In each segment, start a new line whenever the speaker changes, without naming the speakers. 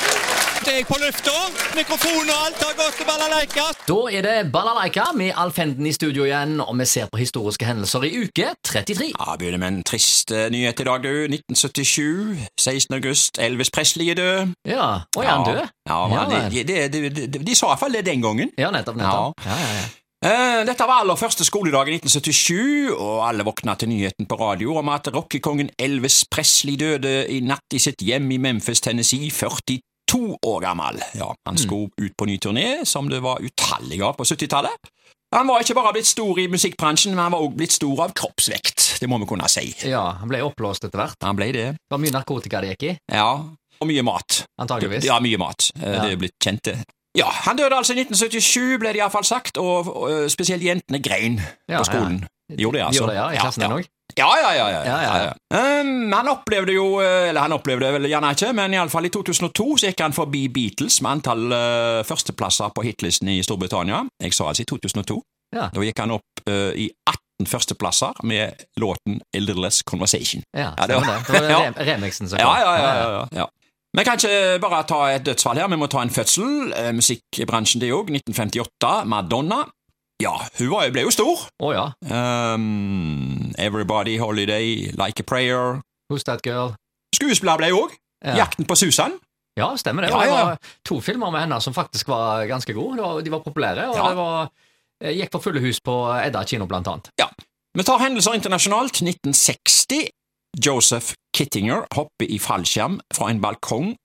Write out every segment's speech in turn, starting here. Snart er jeg på lufta. Mikrofon og alt har gått til balalaika.
Da er det Balalaika med Alfenden i studio igjen, og vi ser på historiske hendelser i uke 33.
Ja, Begynner med en trist eh, nyhet i dag, du. 1977. 16. august. Elvis Presley er død.
Ja, og er han død?
Ja,
Ja,
men
vel.
de, de, de, de, de, de sa iallfall det den gangen.
Ja, nettopp, nettopp. Ja, ja, ja.
Eh, Dette var aller første skoledag i 1977, og alle våkna til nyheten på radio om at rockekongen Elvis Presley døde i natt i sitt hjem i Memphis, Tennessee, 42 år gammel. Ja,
Mm.
han skulle ut på ny turné, som det var utallige av på 70-tallet. Han var ikke bare blitt stor i musikkbransjen, men han var også blitt stor av kroppsvekt. Det må vi kunne si.
ja, han ble oppblåst etter hvert.
Han ble det.
Det var mye narkotika det gikk i,
Ja. Og mye mat.
antageligvis.
Ja, mye mat. Eh,
Ja.
Det er jo blitt kjent, det. Ja, Han døde altså i 1977, ble det iallfall sagt, og, og eh, spesielt jentene grein
Ja, ja.
på skolen. De Gjorde det, altså.
Gjorde det, ja, i klassen
ja,
din òg.
ja, ja, ja, ja,
Ja, ja, ja.
Um, han opplevde jo eh, Eller han opplevde vel gjerne ikke, men iallfall i 2002 så gikk han forbi Beatles med antall eh, førsteplasser på hitlisten i Storbritannia. Jeg sa altså i 2002.
Ja.
Da gikk han opp eh, i 18 førsteplasser med låten A Little Less Conversation.
Ja,
Ja, det var-
stemmer det. Det var
Ja.
rem- remixen som
Ja,
kom.
ja, ja, ja, ja. Vi kan ikke bare ta et dødsfall her, vi må ta en fødsel. Eh, Musikkbransjen det òg. 1958, Madonna. Ja, hun var, ble jo stor.
Å ja.
Um, Everybody Holiday, Like a Prayer.
Who's That Girl?
Skuespiller ble hun òg.
Ja.
Jakten på Susan.
ja, stemmer det.
Ja,
Og det
ja.
var to filmer med henne som faktisk var ganske gode. Det var- De var populære, og
Ja.
det var eh, Gikk for fulle hus på Edda kino, blant annet.
Vi tar hendelser internasjonalt. 1960. Joseph Kittinger hopper i fallskjerm fra en balkong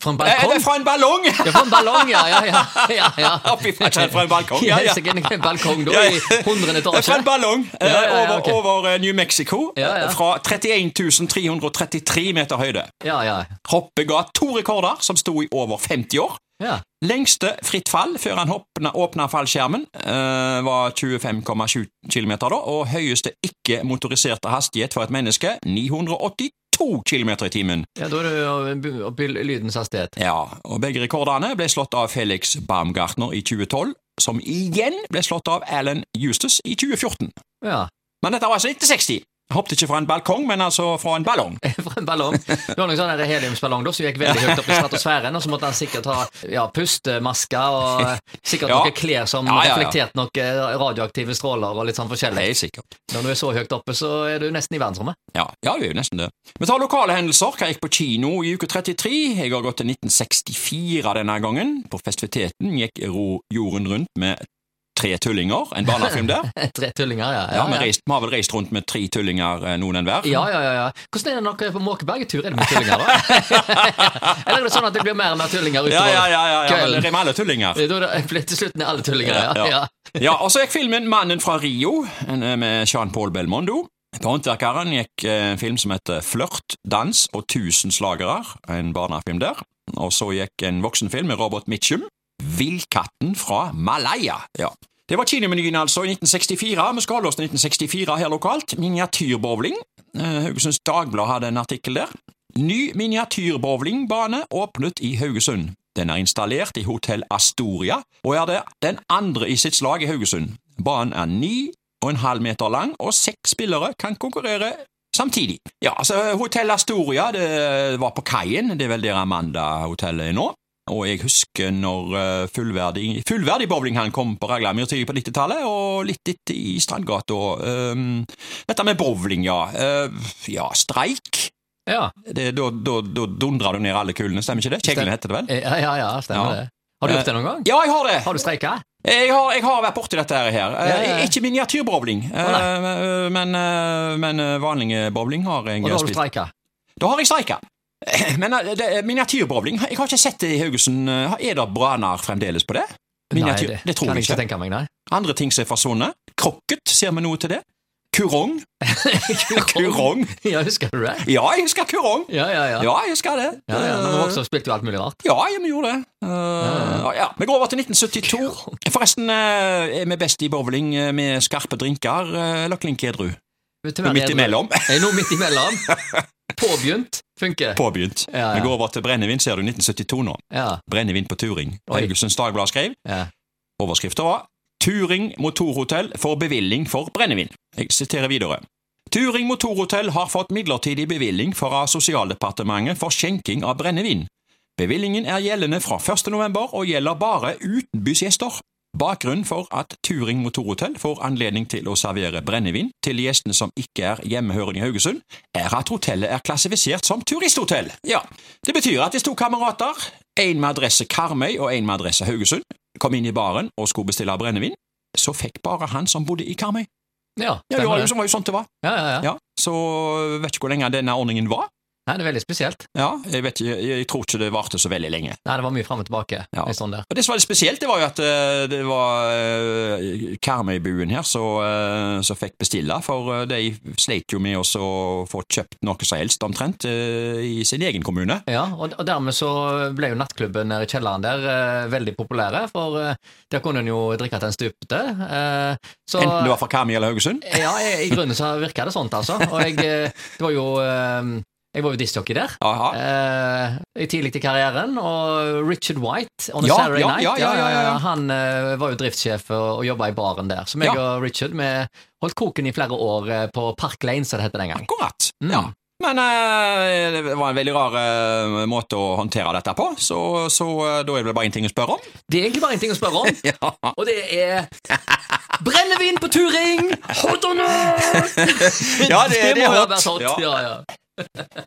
Fra en
Eh,
balkong?
nei, fra en ballong!
Ja, fra en ballong, ja, ja, ja, ja, ja.
Oppi fallskjerm fra en balkong, ja, ja.
så kan jeg- en balkong da,
Ja,
i
ja.
hundrede
Fra
etasje.
en ballong eh,
Ja, ja, ja,
over,
ok.
over eh, New Mexico.
Ja, ja.
eh, Fra 31 333 meter høyde.
Ja, ja,
Hoppet ga to rekorder som sto i over 50 år.
ja.
Lengste fritt fall før han hoppna, åpna fallskjermen eh, var 25,7 km, da, og høyeste ikke-motoriserte hastighet for et menneske 982 km i timen.
Ja, da er det jo by- opp i lydens hastighet.
Ja, og Begge rekordene ble slått av Felix Baumgartner i 2012, som igjen ble slått av Alan Eustace i 2014.
Ja,
Men dette var altså 1960. Jeg hoppet ikke fra en balkong, men altså fra en ballong.
fra en ballong. Det var noen sånne der heliumsballong da, som gikk veldig høyt opp i stratosfæren, og så måtte han sikkert ha ja, pustemasker og eh, sikkert
Ja.
noen klær som
Ja, ja, ja.
reflekterte noen radioaktive stråler og litt sånn forskjellig.
Helt sikkert.
Når du er så høyt oppe, så er du nesten i verdensrommet.
Ja, ja, det er jo nesten det. Vi tar lokale hendelser. Hva gikk på kino i uke 33? Jeg har gått til 1964 denne gangen. På festiviteten gikk Ro jorden rundt med tre tullinger, en barnefilm der.
Tre tullinger, ja.
Ja, vi, reist, vi har vel reist rundt med tre tullinger, eh, noen enhver.
Ja, ja, ja, ja. Hvordan er det når dere er på Måkeberg-tur? Er det med tullinger, da? Eller er det sånn at det blir mer og mer tullinger utover?
ja, ja, ja, ja, ja men
Kvelden.
det er med alle tullinger.
Da er det- Til slutten er alle tullinger, ja.
Ja,
ja.
ja. Ja, og så gikk filmen Mannen fra Rio en, eh, med Jean-Paul Belmondo. På Håndverkeren gikk eh, en film som heter Flørt, dans og tusen slagere, en barnefilm der. Og så gikk en voksenfilm med Robert Mitchum, Villkatten fra Malaya. Ja. Det var kinomenyen altså i 1964. Vi skal holde oss til 1964 her lokalt. Miniatyrbowling. Eh, Haugesunds Dagblad hadde en artikkel der. Ny miniatyrbowlingbane åpnet i Haugesund. Den er installert i Hotell Astoria, og er det den andre i sitt slag i Haugesund. Banen er ni og en halv meter lang, og seks spillere kan konkurrere samtidig. Ja, altså, Hotell Astoria det var på kaien, det er vel der Amanda-hotellet er nå. Og jeg husker når eh, fullverdig, fullverdig bowlinghall kom på Raglamyr tidlig på 90-tallet, og litt etter i Strandgata. Ehm, dette med bowling, ja. Eh, ja, streik.
Ja,
Det- Da da- da dundrer du ned alle kulene, stemmer ikke det? Kjeglen heter det vel?
ja, ja, ja stemmer
Ja.
det. Har du gjort det noen gang?
Ja, jeg har det!
Har du streika?
Jeg har, jeg har vært borti dette her. Eh,
Ja, ja, ja.
Ikke miniatyrbowling, eh, men, eh, men eh, vanlig bowling har jeg
Og da har du
spilt.
streika?
Da har jeg streika. Men eh, det, miniatyrbowling, jeg har ikke sett det i Haugesund. Eh, Er det braner fremdeles på det? Miniatyr,
nei,
det, tror
kan
jeg ikke.
tenke meg, nei.
Andre ting som er forsvunnet. Krokket, ser vi noe til det? Kurong. kurong.
Ja, husker du det?
Ja, jeg husker kurong.
Ja, ja, ja.
Ja, jeg husker det.
Ja, ja, Når vi vokste opp, spilte vi alt mulig rart.
Ja, jeg gjorde det. Eh,
Ja,
ja. Vi går over til 1972. Forresten, eh, er vi best i bowling eh, med skarpe drinker eh, eller klink edru?
Vet du hva,
Midt
det er-
imellom.
Er noe midt imellom. Påbegynt funker.
Påbegynt.
Ja, ja.
Vi går over til brennevin, ser du. 1972 nå.
Ja,
Brennevin på turing.
Oi.
Haugesunds Dagblad skrev.
ja.
Overskriften var Turing motorhotell får bevilling for brennevin. Jeg siterer videre. Turing motorhotell har fått midlertidig bevilling fra Sosialdepartementet for skjenking av brennevin. Bevillingen er gjeldende fra 1. november og gjelder bare utenbysgjester. Bakgrunnen for at Turing Motorhotell får anledning til å servere brennevin til gjestene som ikke er hjemmehørende i Haugesund, er at hotellet er klassifisert som turisthotell. Ja, Det betyr at hvis to kamerater, en med adresse Karmøy og en med adresse Haugesund, kom inn i baren og skulle bestille brennevin, så fikk bare han som bodde i Karmøy.
Ja,
Ja, det var
stemmer
jo
det.
det var jo sånn det var.
Ja, ja, ja.
Ja, Så vet ikke hvor lenge denne ordningen var.
Nei, det er veldig spesielt.
Ja, Jeg, vet, ikke- jeg, jeg tror ikke det varte så veldig lenge.
Nei, det var mye fram og tilbake.
Ja.
Litt sånn der.
Og Det som var litt spesielt, det var jo at eh, det var eh, Karmøybuen her som eh, som fikk bestille, for eh, de sleit jo med også å få kjøpt noe som helst, omtrent, eh, i sin egen kommune.
Ja, og, og dermed så ble jo nattklubben nede i kjelleren der eh, veldig populære, for eh, der kunne en jo drikke til en stupte. Eh, så,
Enten det var fra Karmøy eller Haugesund.
Ja, i, i grunnen så virka det sånn, altså. Og jeg, eh, det var jo eh, Jeg var jo discjockey der.
Aha.
Eh, i tidlig til karrieren, og Richard White on a
Ja,
Saturday
ja,
Night.
ja, ja, ja, ja.
Han eh, var jo driftssjef og, og jobba i baren der. Så meg og Richard vi holdt koken i flere år eh, på Park Lane, som det het den gangen.
Akkurat.
Mm.
Ja. Men eh, det var en veldig rar eh, måte å håndtere dette på, så, så eh, da er det vel bare én ting å spørre om.
Det er egentlig bare én ting å spørre om, og det er Brennevin på turing! Hot or not!
Ja, det- det er
må jo
hot.
være hot.
Ja.
Ja, ja.